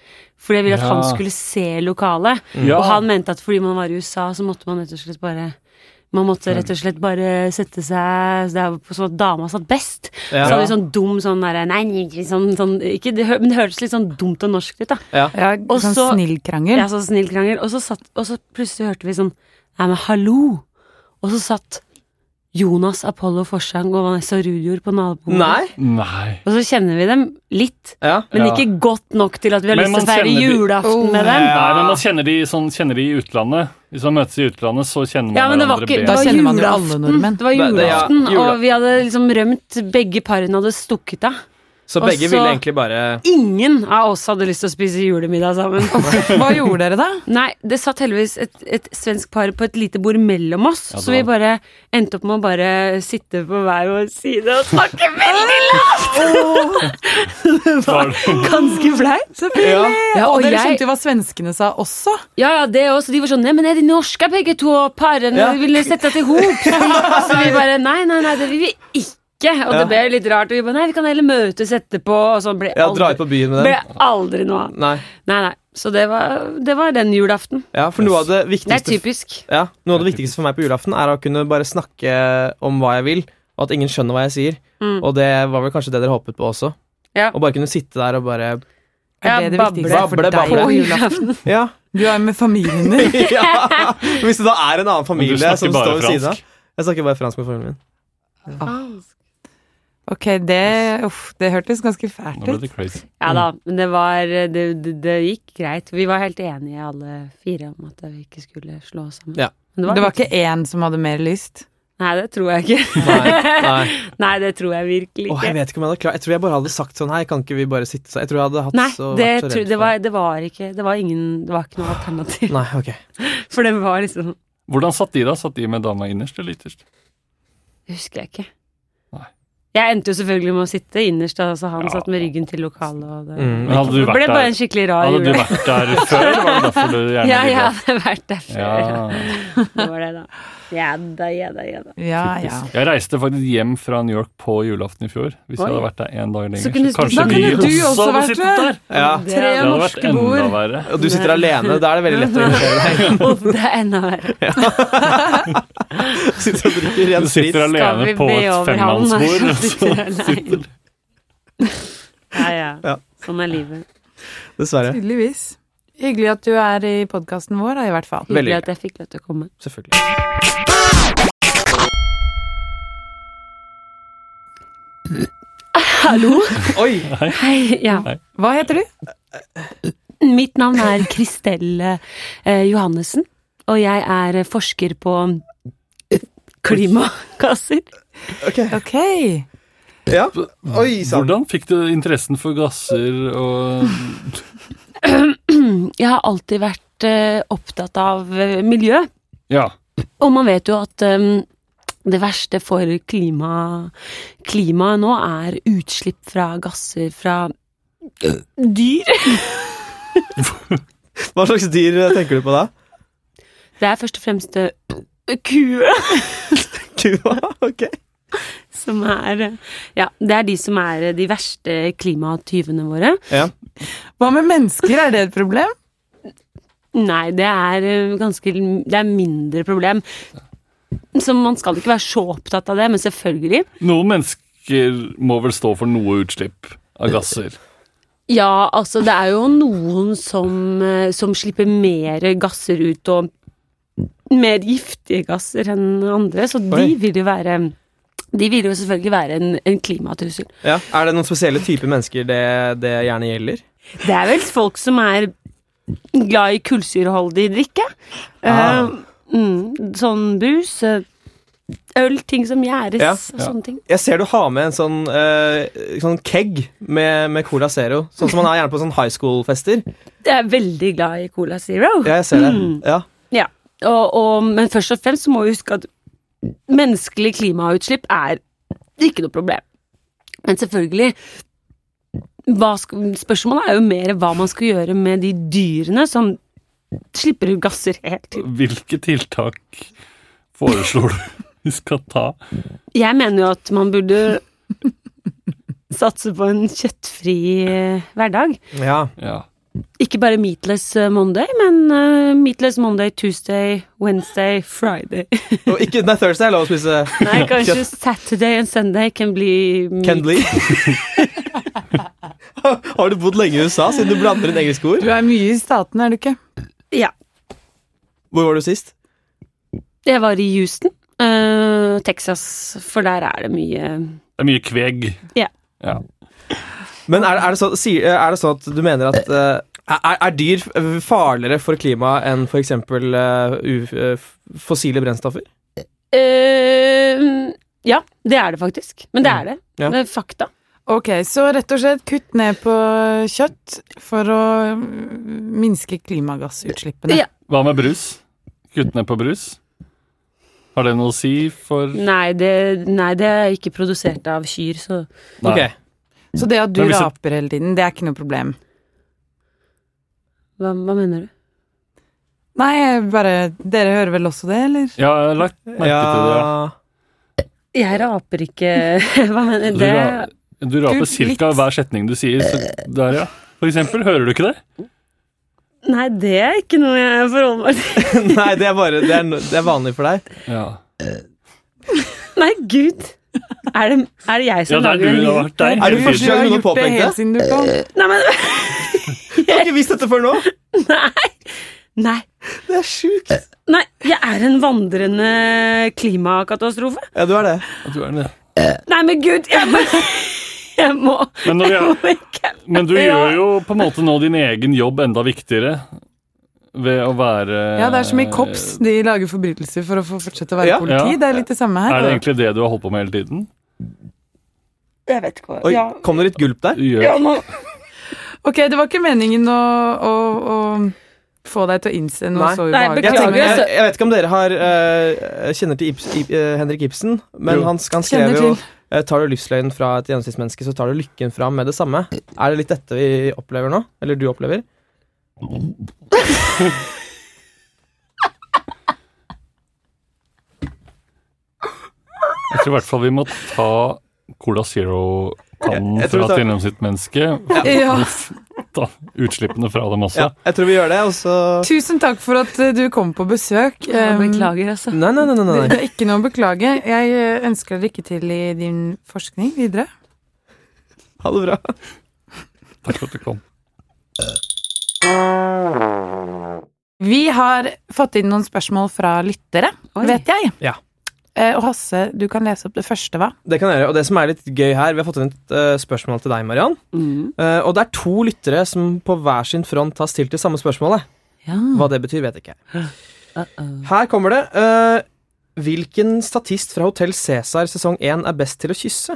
Speaker 5: Fordi jeg ville at
Speaker 3: Ja.
Speaker 5: han skulle se lokalet.
Speaker 3: Ja.
Speaker 5: Og han mente at fordi man var i USA, så måtte man rett og slett bare man måtte rett og slett bare sette seg Det er sånn at dama satt best.
Speaker 1: Ja.
Speaker 5: Så hadde vi sånn dum sånn derre Nei, nei, nei, sånn, sånn ikke, det, hø- Men det hørtes litt sånn dumt og norsk ut, da.
Speaker 4: Ja,
Speaker 5: Og
Speaker 4: sånn
Speaker 5: så-
Speaker 4: snill krangel.
Speaker 5: Ja, sånn snill krangel. Og så, satt, og så plutselig hørte vi sånn Nei, men hallo! Og så satt Jonas Apollo Forsang og Vanessa Rudior på nabobordet.
Speaker 1: Nei?
Speaker 3: Nei.
Speaker 5: Og så kjenner vi dem litt,
Speaker 1: Ja.
Speaker 5: men
Speaker 3: Ja.
Speaker 5: ikke godt nok til at vi har
Speaker 3: Men
Speaker 5: lyst til å
Speaker 3: man
Speaker 5: feire
Speaker 3: kjenner de-
Speaker 5: julaften med dem.
Speaker 1: Ja.
Speaker 3: Nei, men man kjenner de, sånn, kjenner de i utlandet. Hvis man møtes i utlandet, så kjenner man
Speaker 5: Ja, men det var
Speaker 3: hverandre
Speaker 5: ikke det
Speaker 4: Da
Speaker 5: var
Speaker 4: kjenner man jo
Speaker 5: julaften.
Speaker 4: alle nordmenn.
Speaker 5: Det var
Speaker 1: Det- det- ja,
Speaker 5: julaften,
Speaker 1: jula-
Speaker 5: og vi hadde liksom rømt. Begge parene hadde stukket av.
Speaker 1: Så
Speaker 5: Og
Speaker 1: begge
Speaker 5: så-
Speaker 1: ville egentlig bare
Speaker 5: Ingen av oss hadde lyst til å spise julemiddag sammen.
Speaker 4: Hva gjorde dere da?
Speaker 5: Nei, det satt heldigvis et, et svensk par på et lite bord mellom oss,
Speaker 3: Ja, det
Speaker 5: så vi
Speaker 3: var-
Speaker 5: bare endte opp med å bare sitte på hver vår side og snakke veldig lavt!
Speaker 3: Var-
Speaker 5: Ganske flaut.
Speaker 1: Ja.
Speaker 4: Ja, og
Speaker 5: og
Speaker 4: dere
Speaker 5: jeg-
Speaker 4: skjønte jo hva svenskene sa også.
Speaker 5: Ja, ja, det også. De var sånn Nei, men er de norske begge to parene?
Speaker 1: Ja.
Speaker 5: Vi ville sette oss i hop. Så vi bare Nei, nei, nei, det vil vi ikke. Og det
Speaker 1: Ja.
Speaker 5: ble litt rart. Og vi bare Nei, vi kan heller møtes etterpå. Og sånn ble
Speaker 1: ja, dra ut
Speaker 5: aldri,
Speaker 1: på byen med
Speaker 5: ble
Speaker 1: dem.
Speaker 5: aldri noe av.
Speaker 1: Nei.
Speaker 5: Nei, nei. Så det var, det var den julaften.
Speaker 1: Ja, for noe av det
Speaker 5: Det er
Speaker 1: viktigste
Speaker 5: typisk.
Speaker 1: Ja, Noe av det viktigste for meg på julaften er å kunne bare snakke om hva jeg vil, og at ingen skjønner hva jeg sier.
Speaker 5: Mm.
Speaker 1: Og det var vel kanskje det dere håpet på også.
Speaker 5: Ja.
Speaker 1: Å bare kunne sitte der og bare
Speaker 4: Er
Speaker 5: Ja,
Speaker 4: det det
Speaker 5: bable.
Speaker 4: viktigste for
Speaker 1: Bable,
Speaker 4: deg
Speaker 1: bable.
Speaker 4: på julaften?
Speaker 1: Ja!
Speaker 4: Du er med familien din.
Speaker 1: ja. Hvis det da er en annen
Speaker 3: Men du
Speaker 1: familie
Speaker 3: snakker
Speaker 1: som
Speaker 3: bare
Speaker 1: står ved siden av.
Speaker 3: fransk.
Speaker 1: Jeg snakker bare fransk med familien min.
Speaker 4: Ok, det, uff, det hørtes ganske
Speaker 3: Nå
Speaker 4: fælt
Speaker 3: ble
Speaker 4: ut.
Speaker 3: det crazy.
Speaker 5: Ja da, men det var det, det, det gikk greit. Vi var helt enige alle fire om at vi ikke skulle slå oss sammen.
Speaker 1: Ja.
Speaker 5: Men
Speaker 4: Det var ikke én som hadde mer lyst.
Speaker 5: Nei, det tror jeg ikke.
Speaker 1: Nei, nei.
Speaker 5: Nei, det tror jeg virkelig
Speaker 1: Åh, jeg
Speaker 5: ikke.
Speaker 1: vet ikke om jeg hadde klart Jeg tror jeg bare hadde sagt sånn her, kan ikke vi bare sitte sånn Jeg tror jeg hadde hatt
Speaker 5: Nei,
Speaker 1: så
Speaker 5: det,
Speaker 1: vært så
Speaker 5: tro,
Speaker 1: redd
Speaker 5: det,
Speaker 1: for
Speaker 5: var, det var ikke Det var ingen Det var ikke noe alternativ.
Speaker 1: Nei, ok.
Speaker 5: For det var liksom
Speaker 3: Hvordan satt de da? Satt de med dama innerst eller ytterst?
Speaker 5: Det husker jeg ikke.
Speaker 3: Nei.
Speaker 5: Jeg endte jo selvfølgelig med å sitte innerst, da, så han
Speaker 3: Ja.
Speaker 5: satt med ryggen til lokalet. Og det,
Speaker 1: Mm,
Speaker 3: Men hadde du
Speaker 5: det ble
Speaker 3: vært
Speaker 5: bare
Speaker 3: der,
Speaker 5: en skikkelig rar
Speaker 3: hadde du
Speaker 5: jule.
Speaker 3: vært der før? Var det derfor du gjerne
Speaker 5: Ja, jeg
Speaker 3: ville?
Speaker 5: hadde vært der før. Ja.
Speaker 3: Ja.
Speaker 5: Det var det, da. Ja da, ja da, ja da.
Speaker 4: Ja, ja.
Speaker 3: Jeg reiste faktisk hjem fra New York på julaften i fjor. Hvis
Speaker 5: Oi.
Speaker 3: jeg hadde vært der en dag lenger,
Speaker 5: Så kunne du spist- Da
Speaker 3: kanskje
Speaker 5: kunne
Speaker 3: vi
Speaker 4: du også
Speaker 3: også hadde
Speaker 4: vært
Speaker 3: sittet
Speaker 4: der.
Speaker 3: der.
Speaker 1: Ja,
Speaker 5: Det Tre
Speaker 3: Det
Speaker 5: hadde
Speaker 3: hadde
Speaker 5: norske
Speaker 3: vært enda
Speaker 5: bord.
Speaker 3: verre.
Speaker 1: Og du sitter alene, da er det veldig lett å irritere deg.
Speaker 5: Uff, det er enda verre.
Speaker 1: Sitter og drikker ren
Speaker 3: Du
Speaker 1: sprit.
Speaker 3: sitter
Speaker 5: Skal vi
Speaker 3: alene på
Speaker 5: be
Speaker 3: et
Speaker 5: over han?
Speaker 3: femmannsbord.
Speaker 5: Han
Speaker 3: og så
Speaker 5: sitter alene.
Speaker 3: sitter-
Speaker 5: Ja, ja.
Speaker 1: Ja.
Speaker 5: Sånn er livet.
Speaker 1: Dessverre.
Speaker 4: Tydeligvis. Hyggelig at du er i podkasten vår, da, i hvert fall.
Speaker 1: Veldig
Speaker 5: Hyggelig at jeg fikk lov til å komme.
Speaker 1: Selvfølgelig.
Speaker 5: Hallo?
Speaker 1: Oi!
Speaker 5: Hei. Ja.
Speaker 4: Hva heter du?
Speaker 5: Mitt navn er Kristelle eh, Johannessen, og jeg er eh, forsker på eh, klimagasser.
Speaker 1: Ok.
Speaker 4: Ok.
Speaker 1: Ja. Oi sann.
Speaker 3: Hvordan fikk du interessen for gasser og
Speaker 5: Jeg har alltid vært eh, opptatt av eh, miljø,
Speaker 3: Ja.
Speaker 5: og man vet jo at eh, det verste for klima, klimaet nå er utslipp fra gasser fra dyr.
Speaker 1: Hva slags dyr eh, tenker du på da?
Speaker 5: Det er først og fremst eh, kuer
Speaker 1: Kua? Ok.
Speaker 5: som er eh, Ja, det er de som er eh, de verste klimatyvene våre.
Speaker 1: Ja.
Speaker 4: Hva med mennesker, er det et problem?
Speaker 5: Nei, det er eh, ganske Det er mindre problem. Så man skal ikke være så opptatt av det, men selvfølgelig.
Speaker 3: Noen mennesker må vel stå for noe utslipp av gasser.
Speaker 5: Ja, altså, det er jo noen som, eh, som slipper mer gasser ut, og mer giftige gasser enn andre, så de
Speaker 1: Oi.
Speaker 5: vil jo være De vil jo selvfølgelig være en, en klimatrussel.
Speaker 1: ja. Er det noen spesielle typer mennesker det, det gjerne gjelder?
Speaker 5: Det er vel folk som er glad i kullsyreholdig drikke.
Speaker 1: Ah.
Speaker 5: Eh, mm, sånn brus, eh, øl, ting som gjæres
Speaker 1: Ja.
Speaker 5: og sånne ting.
Speaker 1: Jeg ser du har med en sånn, eh, sånn keg med, med Cola Zero. Sånn som man har gjerne på sånn high school-fester.
Speaker 5: Jeg er veldig glad i Cola Zero.
Speaker 1: Ja, jeg ser det. Ja.
Speaker 5: Og, og, men først og fremst så må vi huske at menneskelig klimautslipp er ikke noe problem. Men selvfølgelig hva sk- Spørsmålet er jo mer hva man skal gjøre med de dyrene som slipper ut gasser helt ut.
Speaker 3: Hvilke tiltak foreslår du vi skal ta?
Speaker 5: Jeg mener jo at man burde satse på en kjøttfri eh, hverdag.
Speaker 1: ja.
Speaker 3: Ja.
Speaker 5: Ikke bare meatless eh, Monday, men eh, meatless Monday, Tuesday, Wednesday, Friday.
Speaker 1: Og ikke nei, Thursday er lov å spise
Speaker 5: Nei, kanskje Saturday and Sunday can bli meat.
Speaker 1: Kendley. har du bodd lenge i USA siden du blander inn engelske ord?
Speaker 4: Du er mye i staten, er du ikke?
Speaker 5: Ja.
Speaker 1: Hvor var du sist?
Speaker 5: Jeg var i Houston, eh, Texas, for der er det mye
Speaker 3: Det er mye kveg.
Speaker 5: Ja.
Speaker 3: Ja.
Speaker 1: Men er, det- er, det så, sier- er det sånn at du mener at eh, er, er dyr f- farligere for klimaet enn f.eks. Uh, fossile brennstoffer?
Speaker 5: Eh, Ja, det er det faktisk. Men det er det.
Speaker 1: Ja.
Speaker 5: Det er fakta.
Speaker 4: Ok, så rett og slett kutt ned på kjøtt for å mm, minske klimagassutslippene.
Speaker 5: Ja.
Speaker 3: Hva med brus? Kutt ned på brus? Har det noe å si for
Speaker 5: Nei, det, nei, det er ikke produsert av kyr, så
Speaker 3: Nei.
Speaker 1: Ok.
Speaker 4: Så det at du
Speaker 3: Men hvis du-
Speaker 4: raper hele tiden, det er ikke noe problem.
Speaker 5: hva, hva mener du?
Speaker 4: Nei, jeg bare Dere hører vel også det, eller?
Speaker 3: Ja, jeg har lagt merke til det. ja.
Speaker 1: Ja.
Speaker 5: Jeg raper ikke Hva mener
Speaker 3: Du,
Speaker 5: det?
Speaker 3: ra- du
Speaker 4: Du,
Speaker 3: raper ca.
Speaker 4: litt.
Speaker 3: hver setning du sier. Så der, ja. For eksempel, hører du ikke det?
Speaker 5: Nei, det er ikke noe jeg forholder meg til.
Speaker 1: Nei, det er, bare, det, er, no- det er vanlig for deg.
Speaker 3: Ja,
Speaker 5: Nei, gud. Er det, er det jeg
Speaker 3: ja
Speaker 5: som
Speaker 3: det er du.
Speaker 5: Sånn lager en
Speaker 3: Det har
Speaker 5: lyd?
Speaker 3: vært deg.
Speaker 1: Er du
Speaker 3: hele
Speaker 1: første
Speaker 3: tiden.
Speaker 1: gang noen
Speaker 4: gjort det
Speaker 1: påpekte?
Speaker 4: helt siden du kom.
Speaker 3: Eh,
Speaker 5: Nei, men
Speaker 1: Jeg har ikke visst dette før nå!
Speaker 5: Nei.
Speaker 1: Det er sjukt.
Speaker 5: Nei, jeg er en vandrende klimakatastrofe.
Speaker 1: Ja, du er det.
Speaker 3: Ja, du er det.
Speaker 5: Nei, men gud, jeg må Jeg må,
Speaker 3: Men, når vi
Speaker 5: jeg
Speaker 3: er,
Speaker 5: må ikke
Speaker 3: men du
Speaker 5: Ja.
Speaker 3: gjør jo på en måte nå din egen jobb enda viktigere ved å være
Speaker 4: Ja, det er som i KOPS, de lager forbrytelser for å få fortsette å være
Speaker 1: Ja.
Speaker 4: politi.
Speaker 3: eh, Ja.
Speaker 4: Det er litt det samme her.
Speaker 3: Er det egentlig det du har holdt på med hele tiden?
Speaker 5: Jeg vet ikke hva
Speaker 1: Oi,
Speaker 5: ja,
Speaker 1: kom det litt gulp der?
Speaker 3: Du gjør
Speaker 5: ja, nå,
Speaker 4: Ok, det var ikke meningen å, å, å få deg til å innse noe
Speaker 1: Nei.
Speaker 4: så
Speaker 5: Nei,
Speaker 4: ubehagelig.
Speaker 1: Jeg,
Speaker 5: beklager,
Speaker 1: tenker, jeg,
Speaker 5: altså.
Speaker 1: jeg vet ikke om dere har eh, kjenner til Ibs, Ib, eh, Henrik Ibsen, men
Speaker 3: Jo.
Speaker 1: han, han skrev
Speaker 4: Kjenner
Speaker 1: jo
Speaker 4: til.
Speaker 1: eh, Tar du livsløgnen fra et gjennomsnittsmenneske, så tar du lykken fram med det samme. Er det litt dette vi opplever nå? Eller du opplever?
Speaker 3: Jeg tror i hvert fall vi må ta Cola Zero-kannen
Speaker 1: Jeg- jeg tror vi
Speaker 3: fra
Speaker 1: tar-
Speaker 3: et gjennomsnittsmenneske.
Speaker 4: Ja.
Speaker 3: Ta utslippene fra dem også.
Speaker 1: Ja, jeg tror vi gjør det, og så
Speaker 4: Tusen takk for at eh, du kom på besøk.
Speaker 5: jeg
Speaker 4: Um,
Speaker 5: Beklager, altså.
Speaker 1: Nei, nei, nei. nei,
Speaker 4: Det,
Speaker 1: nei.
Speaker 4: det er ikke noe å beklage. Jeg eh, ønsker deg lykke til i din forskning videre.
Speaker 1: Ha det bra.
Speaker 3: Takk for at du kom.
Speaker 4: Vi har fått inn noen spørsmål fra lyttere, vet jeg.
Speaker 1: Ja.
Speaker 4: Eh, Og Hasse, du kan lese opp det første, hva?
Speaker 1: Det kan jeg gjøre. Og det som er litt gøy her, vi har fått inn et eh, spørsmål til deg, Mariann.
Speaker 5: Mm.
Speaker 1: Eh, og det er to lyttere som på hver sin front har stilt det samme spørsmålet.
Speaker 5: Ja.
Speaker 1: Hva det betyr, vet ikke jeg.
Speaker 5: Uh-oh.
Speaker 1: Her kommer det. eh, hvilken statist fra Hotell Cæsar sesong 1 er best til å kysse?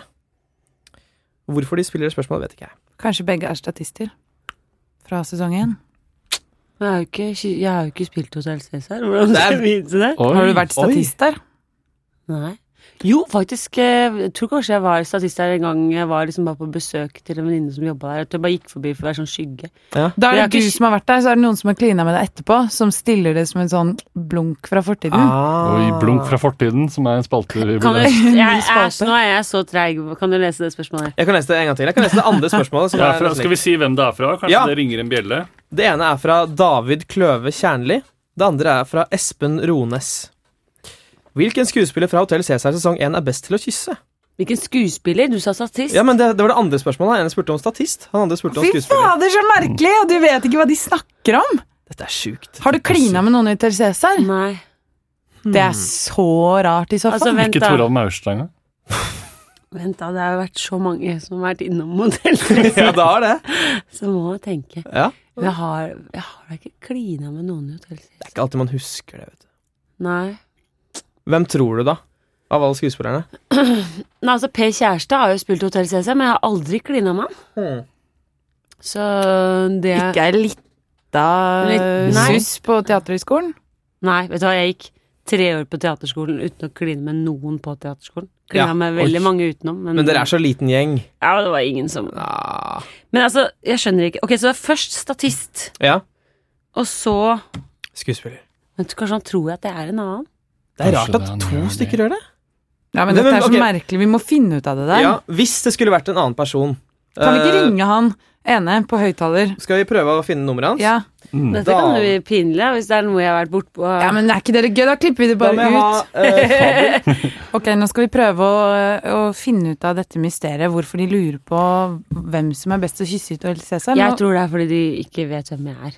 Speaker 1: Hvorfor de spiller det spørsmålet, vet ikke jeg.
Speaker 4: Kanskje begge er statister fra sesong én?
Speaker 5: Jeg, har jo ikke, jeg har jo ikke spilt Hotell Cæsar. Hvordan skal jeg vite det?
Speaker 3: Oi.
Speaker 4: Har du vært
Speaker 1: oi.
Speaker 4: statist der?
Speaker 5: Nei. Jo, faktisk. eh, Jeg tror kanskje jeg var statist der en gang jeg var liksom bare på besøk til en venninne som jobba der. Jeg tror jeg bare gikk forbi for å være sånn skygge.
Speaker 4: Da
Speaker 5: Jeg
Speaker 4: er
Speaker 5: har
Speaker 4: det
Speaker 5: ikke
Speaker 4: du
Speaker 5: sk-
Speaker 4: som har vært der, så er det noen som har klina med deg etterpå, som stiller det som en sånn blunk fra fortiden.
Speaker 1: Ah.
Speaker 3: Oi, Blunk fra fortiden, som er en spalte vi
Speaker 5: Kan
Speaker 3: burde
Speaker 5: du, jeg,
Speaker 4: spalte.
Speaker 5: æsj, nå er jeg så treig. Kan du lese det spørsmålet?
Speaker 1: Jeg kan lese det en gang til. Jeg kan lese det andre spørsmålet. som
Speaker 3: ja,
Speaker 1: er
Speaker 3: fra,
Speaker 1: nesten
Speaker 3: Skal vi si hvem det er fra? Kanskje
Speaker 1: Ja.
Speaker 3: det ringer en bjelle?
Speaker 1: likt. Det ene er fra David Kløve Kjernli. Det andre er fra Espen Rones. Hvilken skuespiller fra Hotell Cæsar sesong 1 er best til å kysse?
Speaker 5: Hvilken skuespiller? Du sa statist.
Speaker 1: Ja, men Det, det var det andre spørsmålet. Han ene spurte om statist. Han andre spurte om
Speaker 4: Fy
Speaker 1: skuespiller.
Speaker 4: fader, så merkelig! Og du vet ikke hva de snakker om!
Speaker 1: Dette er sjukt.
Speaker 4: Har du klina med noen i Hotel Cæsar?
Speaker 5: Nei.
Speaker 4: Det er så rart i så fall.
Speaker 5: Altså, vent,
Speaker 3: Ikke
Speaker 5: da.
Speaker 3: Toralv Maurstad engang.
Speaker 5: vent da. Det har jo vært så mange som har vært innom Hotell Cæsar,
Speaker 1: Ja, det har det.
Speaker 5: så må jeg tenke.
Speaker 1: Ja.
Speaker 5: Jeg har, jeg har da ikke klina med noen i hotell sist.
Speaker 6: Det er ikke alltid man husker det. vet du.
Speaker 5: Nei.
Speaker 6: Hvem tror du, da? Av alle skuespillerne?
Speaker 5: Nei, altså Per Kjærstad har jo spilt Hotell CC, men jeg har aldri klina med han.
Speaker 6: Hmm.
Speaker 5: Så det
Speaker 4: Ikke ei lita
Speaker 5: Litt- Nei.
Speaker 4: suss på Teaterhøgskolen?
Speaker 5: Nei, vet du hva, jeg gikk tre år på teaterskolen uten å kline med noen på teaterskolen. Klina
Speaker 6: Ja,
Speaker 5: med
Speaker 6: oi.
Speaker 5: veldig mange utenom. Men,
Speaker 6: Men dere er så liten gjeng.
Speaker 5: Ja, det var ingen som
Speaker 6: Ah.
Speaker 5: Men altså, jeg skjønner ikke. Ok, så det er først statist,
Speaker 6: Ja.
Speaker 5: og så
Speaker 6: Skuespiller.
Speaker 5: Vet du, Kanskje han tror at det er en annen?
Speaker 6: Det er
Speaker 3: Kanskje
Speaker 6: rart
Speaker 3: det er
Speaker 6: at
Speaker 3: en
Speaker 6: to
Speaker 3: gjeng.
Speaker 6: stykker gjør det.
Speaker 4: Ja, men
Speaker 6: Men-
Speaker 4: dette er så
Speaker 6: men, ok.
Speaker 4: merkelig. Vi må finne ut av det der.
Speaker 6: Ja, Hvis det skulle vært en annen person.
Speaker 4: Kan vi ikke
Speaker 6: Eh,
Speaker 4: ringe han ene på høyttaler?
Speaker 6: Skal vi prøve å finne nummeret hans?
Speaker 4: Ja.
Speaker 3: Mm.
Speaker 5: Dette kan
Speaker 6: Hmm. Da-
Speaker 5: jo bli pinlig ja, hvis det er noe jeg har vært bortpå.
Speaker 4: ja, men er ikke dere gøy? Da klipper vi det
Speaker 6: Da må
Speaker 4: bare
Speaker 6: jeg
Speaker 4: ut.
Speaker 6: ha eh, Fabel.
Speaker 4: Ok, nå skal vi prøve å, eh, å finne ut av dette mysteriet. Hvorfor de lurer på hvem som er best å kysse ut og hilse seg.
Speaker 5: jeg
Speaker 4: Nå-
Speaker 5: tror det er fordi de ikke vet hvem jeg er.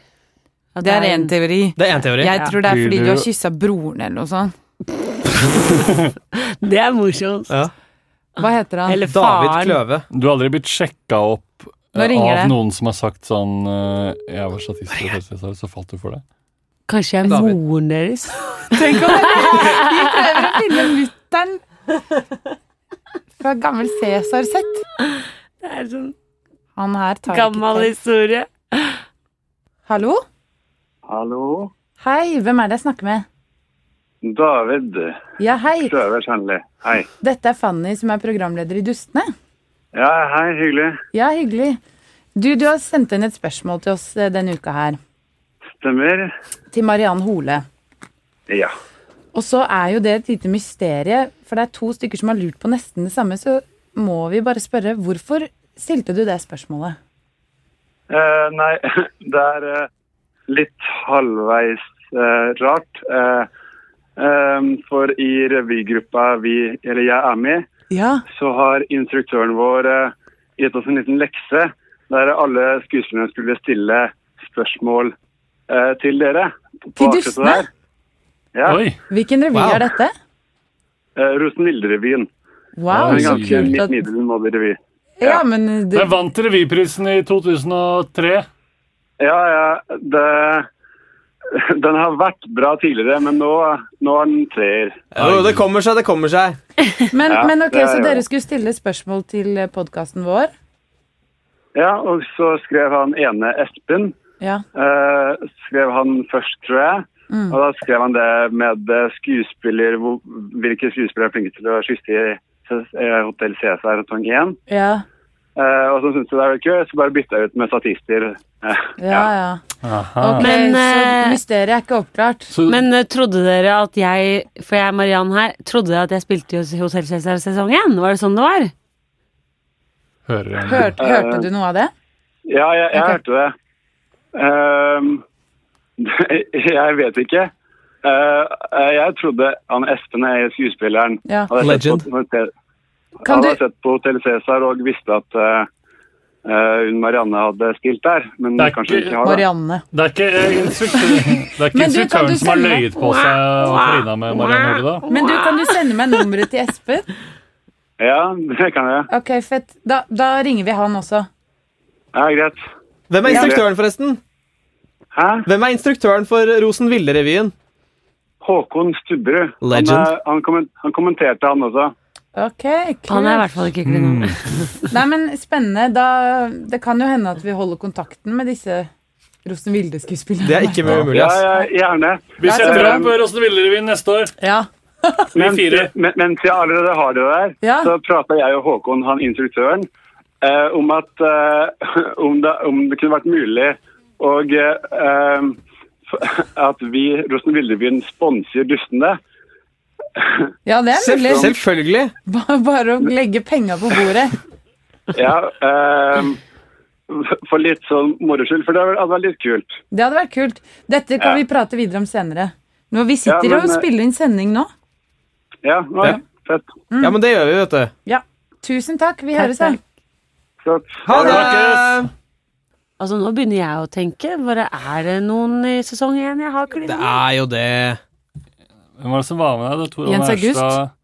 Speaker 5: At
Speaker 4: det er én
Speaker 5: en-
Speaker 4: teori.
Speaker 6: Det er én teori.
Speaker 4: Jeg tror det er
Speaker 3: Blir
Speaker 4: fordi du
Speaker 3: du-
Speaker 4: har kyssa broren eller noe sånt.
Speaker 5: Det er morsomt.
Speaker 6: Ja.
Speaker 4: Hva heter han?
Speaker 5: Eller
Speaker 6: David
Speaker 5: faren.
Speaker 6: Kløve.
Speaker 3: Du har aldri blitt sjekka opp eh,
Speaker 4: Nå ringer
Speaker 3: av
Speaker 4: det.
Speaker 3: noen som har sagt sånn eh, Jeg var statist, på Hotel Cæsar, så falt du for det.
Speaker 5: Kanskje jeg er
Speaker 6: David.
Speaker 5: moren deres?
Speaker 4: Tenk om det Vi prøver å finne mutter'n fra gammel Cæsar-sett.
Speaker 5: Det er sånn
Speaker 4: Han her tar
Speaker 5: gammel
Speaker 4: ikke til.
Speaker 5: historie.
Speaker 4: Hallo?
Speaker 7: Hallo?
Speaker 4: Hei, hvem er det jeg snakker med?
Speaker 7: David
Speaker 4: Ja, hei.
Speaker 7: Kløver Sandli. Hei.
Speaker 4: Dette er Fanny, som er programleder i Dustene.
Speaker 7: Ja, hei, hyggelig.
Speaker 4: Ja, hyggelig. Du, du har sendt inn et spørsmål til oss eh, denne uka her.
Speaker 7: Stemmer?
Speaker 4: Til Mariann Hole.
Speaker 7: Ja.
Speaker 4: Og så er jo det et lite mysterie, for det er to stykker som har lurt på nesten det samme, så må vi bare spørre hvorfor stilte du det spørsmålet?
Speaker 7: Eh, nei, det er eh, litt halvveis eh, rart. Eh, ehm, for i revygruppa vi, eller jeg er med, i,
Speaker 4: Ja.
Speaker 7: så har instruktøren vår eh, gitt oss en liten lekse der alle skuespillerne skulle stille spørsmål eh, til dere. på
Speaker 4: Til
Speaker 7: akkurat det
Speaker 4: dustene?
Speaker 7: der. Ja.
Speaker 3: Oi!
Speaker 4: Hvilken revy
Speaker 6: Wow.
Speaker 4: er dette?
Speaker 7: Eh, Rosenvilde-revyen.
Speaker 4: Wow,
Speaker 3: Det er
Speaker 7: En
Speaker 4: så
Speaker 3: ganske
Speaker 7: ganske
Speaker 4: kult.
Speaker 7: litt
Speaker 4: At,
Speaker 7: middelmådig revy.
Speaker 4: ja, men du,
Speaker 3: Jeg vant revyprisen i 2003.
Speaker 7: Ja, ja. Det, den har vært bra tidligere, men nå, nå er den treer.
Speaker 6: Jo, det kommer seg, det kommer seg.
Speaker 4: men,
Speaker 7: Ja,
Speaker 4: men ok,
Speaker 7: det er
Speaker 4: så
Speaker 7: jo-
Speaker 4: dere skulle stille spørsmål til podkasten vår?
Speaker 7: Ja, og så skrev han ene Espen.
Speaker 4: Ja.
Speaker 7: eh, skrev han først, tror jeg. Og da skrev han det med eh, skuespiller, hvor, hvilke skuespillere er flinke til å kysse i eh, Hotell Cæsar sesong 1.
Speaker 4: Ja,
Speaker 7: Eh, og så syntes jeg det var gøy, så bare bytta jeg ut med statister. Eh,
Speaker 4: ja. ja. Ok,
Speaker 5: Men,
Speaker 4: så
Speaker 5: eh,
Speaker 4: mysteriet er ikke oppklart.
Speaker 3: Så
Speaker 5: Men eh, trodde dere at jeg, for jeg er Mariann her, trodde dere at jeg spilte i Hotell Cæsar sesong 1? Var det sånn det var?
Speaker 3: hører jeg noe.
Speaker 4: Hørte, hørte du noe av det?
Speaker 7: Ja, jeg, jeg
Speaker 4: Ok.
Speaker 7: hørte det. Ehm, jeg vet ikke. Eh, jeg trodde han Espen er skuespilleren.
Speaker 4: Ja.
Speaker 7: Hadde jeg
Speaker 6: Legend.
Speaker 7: Sett på, Hotel-
Speaker 4: Kan
Speaker 7: hadde
Speaker 4: du,
Speaker 7: jeg sett på Hotell Cæsar og visste at eh, eh, hun Marianne hadde spilt der. Men
Speaker 3: Det er
Speaker 7: kanskje hun
Speaker 3: ikke-
Speaker 7: ikke har det.
Speaker 4: Marianne
Speaker 3: Det er ikke eh, instruktøren, det er ikke
Speaker 4: Men du, kan
Speaker 3: instruktøren
Speaker 4: du
Speaker 3: som har
Speaker 4: sende-
Speaker 3: løyet på seg og klina med Marianne Hole, da?
Speaker 4: Men du, kan du sende meg nummeret til Espen?
Speaker 7: Ja, det kan jeg.
Speaker 4: Ok, fett. Da, da ringer vi han også.
Speaker 7: Ja, greit.
Speaker 6: Hvem er instruktøren, forresten?
Speaker 7: Hæ?
Speaker 6: Hvem er instruktøren for Rosenville-revyen?
Speaker 7: Håkon Stubberud. Han,
Speaker 6: Legend.
Speaker 7: eh, han, kommen- han kommenterte han også.
Speaker 4: Ok,
Speaker 5: Han
Speaker 4: kult.
Speaker 5: er i hvert fall ikke klina med.
Speaker 6: Mm.
Speaker 4: Nei, men spennende. Da, det kan jo hende at vi holder kontakten med disse Rosenvilde-skuespillerne.
Speaker 6: Det er ikke
Speaker 3: Ja.
Speaker 6: mulig,
Speaker 7: Ja,
Speaker 6: ass.
Speaker 7: ja, gjerne. Eh,
Speaker 3: Vi
Speaker 4: så
Speaker 3: setter
Speaker 4: bra.
Speaker 3: opp eh, Rosenville-revyen neste år.
Speaker 4: Ja.
Speaker 3: Vi
Speaker 7: Mens,
Speaker 3: fire.
Speaker 7: men, mens jeg allerede har det der,
Speaker 4: Ja.
Speaker 7: så prata jeg og Håkon, han instruktøren, eh, om at eh, om, det, om det kunne vært mulig og eh, f- at vi, Rosenvildebyen, sponser dustene.
Speaker 4: ja, det er
Speaker 6: Selv-
Speaker 4: mulig.
Speaker 6: Selvfølgelig.
Speaker 4: Ba- Bare å legge penga på bordet.
Speaker 7: Ja, eh, for litt sånn moro skyld, for det hadde vært litt kult.
Speaker 4: Det hadde vært kult. Dette kan
Speaker 7: Ja.
Speaker 4: vi prate videre om senere. Nå, vi sitter
Speaker 7: Ja, men,
Speaker 4: og
Speaker 7: eh,
Speaker 4: spiller inn sending nå.
Speaker 7: Ja, nå er det fett.
Speaker 4: Mm.
Speaker 6: Ja, men det gjør vi, vet du.
Speaker 4: Ja. Tusen takk. Vi høres, da.
Speaker 5: takk.
Speaker 7: Flott.
Speaker 6: Ha det!
Speaker 3: Snakkes!
Speaker 5: Altså, nå begynner jeg å tenke. Bare er det noen i sesong 1 jeg har klina
Speaker 6: Det
Speaker 5: med?
Speaker 6: er jo det.
Speaker 3: Hvem var det som var med deg? Det er Tor Arne
Speaker 4: Jens August.
Speaker 3: Erstad.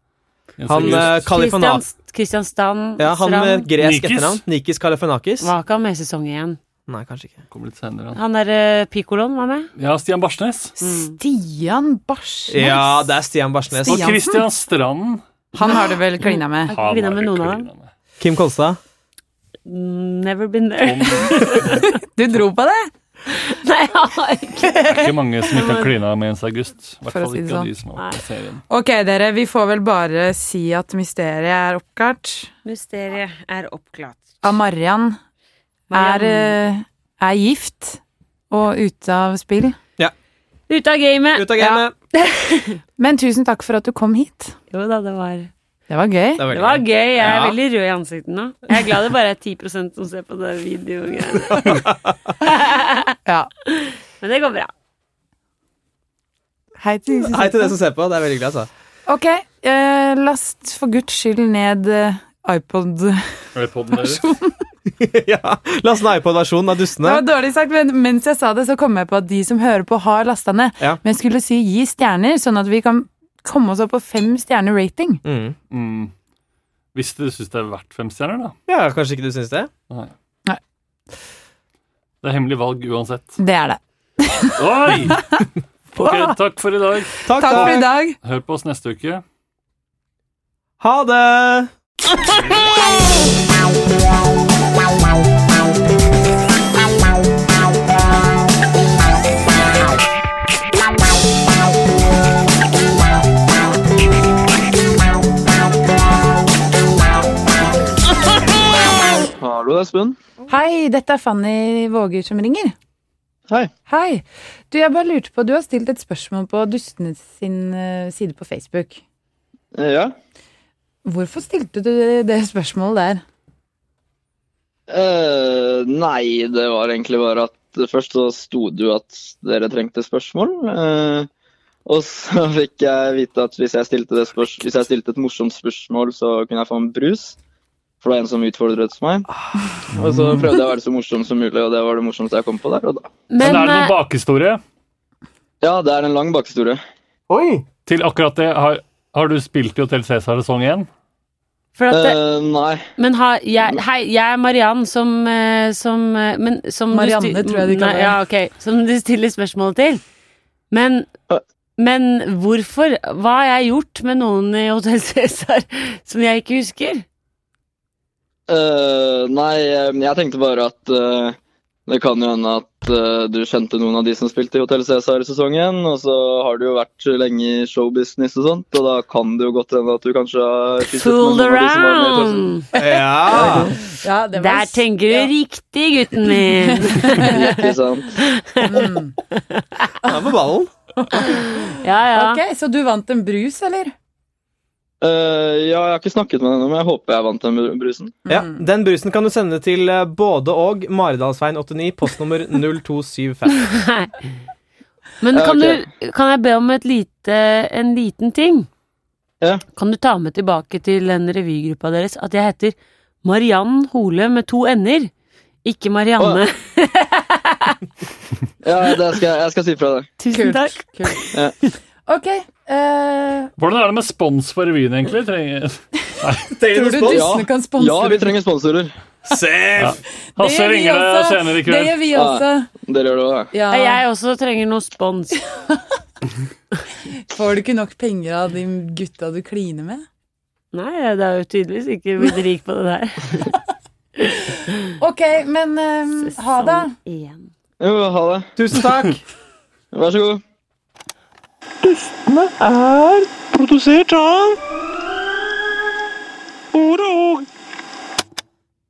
Speaker 3: Jens
Speaker 6: Han eh,
Speaker 3: August.
Speaker 6: Kalifanakis
Speaker 5: Kristian Stad
Speaker 6: Ja, han med gresk
Speaker 3: Nikis.
Speaker 6: etternavn. Nikis Kalifanakis.
Speaker 5: Var ikke han med i sesong 1?
Speaker 6: Nei, kanskje
Speaker 1: eh,
Speaker 6: ikke.
Speaker 3: Kommer litt senere.
Speaker 5: Han derre Piccoloen var med.
Speaker 3: Ja, Stian Barsnes.
Speaker 5: Mm.
Speaker 4: Stian Barsnes.
Speaker 6: Ja, det er Stian Barsnes.
Speaker 3: Og
Speaker 4: Stiansen.
Speaker 3: Christian Strand.
Speaker 4: Han har du vel klina med?
Speaker 5: Jeg har ikke vinna med noen av dem.
Speaker 3: dem.
Speaker 6: Kim Kolstad.
Speaker 5: Mm, Never been there.
Speaker 4: Du dro på det!
Speaker 5: Nei, jeg har ikke
Speaker 3: Ikke mange som ikke har klina med Jens August. I hvert
Speaker 4: For å
Speaker 3: fall
Speaker 4: si det
Speaker 3: ikke av
Speaker 4: sånn.
Speaker 3: de som har vært på serien.
Speaker 4: Ok, dere, vi får vel bare si at mysteriet er oppklart.
Speaker 5: Mysteriet er oppklart.
Speaker 4: Av Marian er, eh, er gift og ute av spill.
Speaker 5: Ute av gamet!
Speaker 6: Ut av gamet.
Speaker 4: Men tusen takk for at du kom hit.
Speaker 5: Jo da, det var
Speaker 4: Det var gøy.
Speaker 6: Det er
Speaker 5: Det
Speaker 6: veldig
Speaker 5: var
Speaker 6: gøy.
Speaker 5: gøy. Jeg er
Speaker 6: Ja.
Speaker 5: veldig rød i ansiktet nå. Jeg er glad det bare er 10 som ser på det videogreiene.
Speaker 4: Ja.
Speaker 5: Men det går bra.
Speaker 4: Hei til de som
Speaker 6: Hei til dere som ser på. Det er veldig hyggelig, altså.
Speaker 4: Ok, eh, last for guds skyld ned eh, iPod. Det
Speaker 3: Er det podden deres?
Speaker 6: ja. Last ned iPod-versjonen av Dustene.
Speaker 4: var dårlig sagt, men mens jeg sa det, så kom jeg på at de som hører på, har lasta ned.
Speaker 6: Ja.
Speaker 4: Men jeg skulle si gi stjerner, sånn at vi kan komme oss opp på fem stjerner rating.
Speaker 6: Mm.
Speaker 3: Mm. Hvis du syns det er verdt fem stjerner, da.
Speaker 6: Ja, kanskje ikke du syns det?
Speaker 3: Nei.
Speaker 4: Nei.
Speaker 3: Det er hemmelig valg uansett.
Speaker 4: Det er det.
Speaker 3: Oi! Ok, takk for i dag.
Speaker 6: Takk,
Speaker 4: Takk for i dag.
Speaker 3: Hør på oss neste uke.
Speaker 6: Ha det!
Speaker 8: Hallo, det er Espen.
Speaker 4: Hei, dette er Fanny Våger som ringer.
Speaker 8: Hei.
Speaker 4: Hei. Du, jeg bare lurte på, du har stilt et spørsmål på Dustene sin eh, side på Facebook.
Speaker 8: Eh, Ja.
Speaker 4: Hvorfor stilte du det spørsmålet der?
Speaker 8: Eh, nei, det var egentlig bare at først så sto det jo at dere trengte spørsmål. eh, og så fikk jeg vite at hvis jeg, stilte det spørs hvis jeg stilte et morsomt spørsmål, så kunne jeg få en brus. For det var en som utfordret meg. Og så prøvde jeg å være så morsom som mulig, og det var det morsomste jeg kom på der og da.
Speaker 3: Men,
Speaker 5: Men
Speaker 3: er det
Speaker 5: eh,
Speaker 3: noen bakhistorie
Speaker 8: Ja, det er en lang bakhistorie.
Speaker 3: til akkurat det? Har, har du spilt i Hotell Cæsar sesong én?
Speaker 5: for at det,
Speaker 8: Eh, nei.
Speaker 5: Men har jeg, Hei, jeg er Mariann som, eh, som, eh, men, som du
Speaker 4: Marianne,
Speaker 5: sti-
Speaker 4: tror jeg de kaller
Speaker 5: Nei, Ja, ok. Som du stiller spørsmålet til. Men
Speaker 8: Ja.
Speaker 5: men hvorfor? Hva har jeg gjort med noen i Hotell Cæsar som jeg ikke husker?
Speaker 8: Eh, nei, eh, jeg tenkte bare at eh, det kan jo hende at eh, du kjente noen av de som spilte i Hotell Cæsar-sesongen, og så har du jo vært lenge i showbusiness og sånt, og da kan det jo godt hende at du kanskje har kysset
Speaker 5: Fooled
Speaker 8: noen av de som var med i Hotell Cæsar.
Speaker 5: around!
Speaker 6: Ja!
Speaker 4: Ja, det
Speaker 5: Der tenker du riktig, gutten min!
Speaker 8: Ikke sant?
Speaker 6: Han er på ballen.
Speaker 5: Ja, ja.
Speaker 4: Ok, så du vant en brus, eller?
Speaker 8: Eh, ja, jeg har ikke snakket med henne, men jeg håper jeg vant den br- brusen.
Speaker 6: Ja, Den brusen kan du sende til eh, både og Maridalsveien89, postnummer 0275.
Speaker 5: Men
Speaker 8: Ja,
Speaker 5: kan,
Speaker 8: ok.
Speaker 5: du, kan jeg be om et lite, en liten ting?
Speaker 8: Ja.
Speaker 5: Kan du ta med tilbake til den revygruppa deres at jeg heter Mariann Hole med to n-er? Ikke Marianne.
Speaker 8: Ja, det skal, jeg- jeg skal si fra deg.
Speaker 5: Tusen takk.
Speaker 8: Ja.
Speaker 4: Ok, eh,
Speaker 3: Hvordan er det med spons for revyen, egentlig? Trenger...
Speaker 4: tror du Dustene kan sponse?
Speaker 8: Ja, vi trenger sponsorer.
Speaker 3: Hasse
Speaker 4: vi
Speaker 3: ringer deg
Speaker 4: også.
Speaker 3: senere i
Speaker 4: Det
Speaker 3: kveld.
Speaker 4: gjør vi også.
Speaker 8: Dere gjør det òg, ja.
Speaker 4: Ja,
Speaker 5: Jeg også trenger noe spons.
Speaker 4: Får du ikke nok penger av de gutta du kliner med?
Speaker 5: Nei, det er jo tydeligvis ikke blitt rik på det der.
Speaker 4: Ok, men eh, ha det.
Speaker 5: Sesong én.
Speaker 8: Jo, ha det.
Speaker 6: Tusen takk.
Speaker 8: Vær så god.
Speaker 9: er produsert av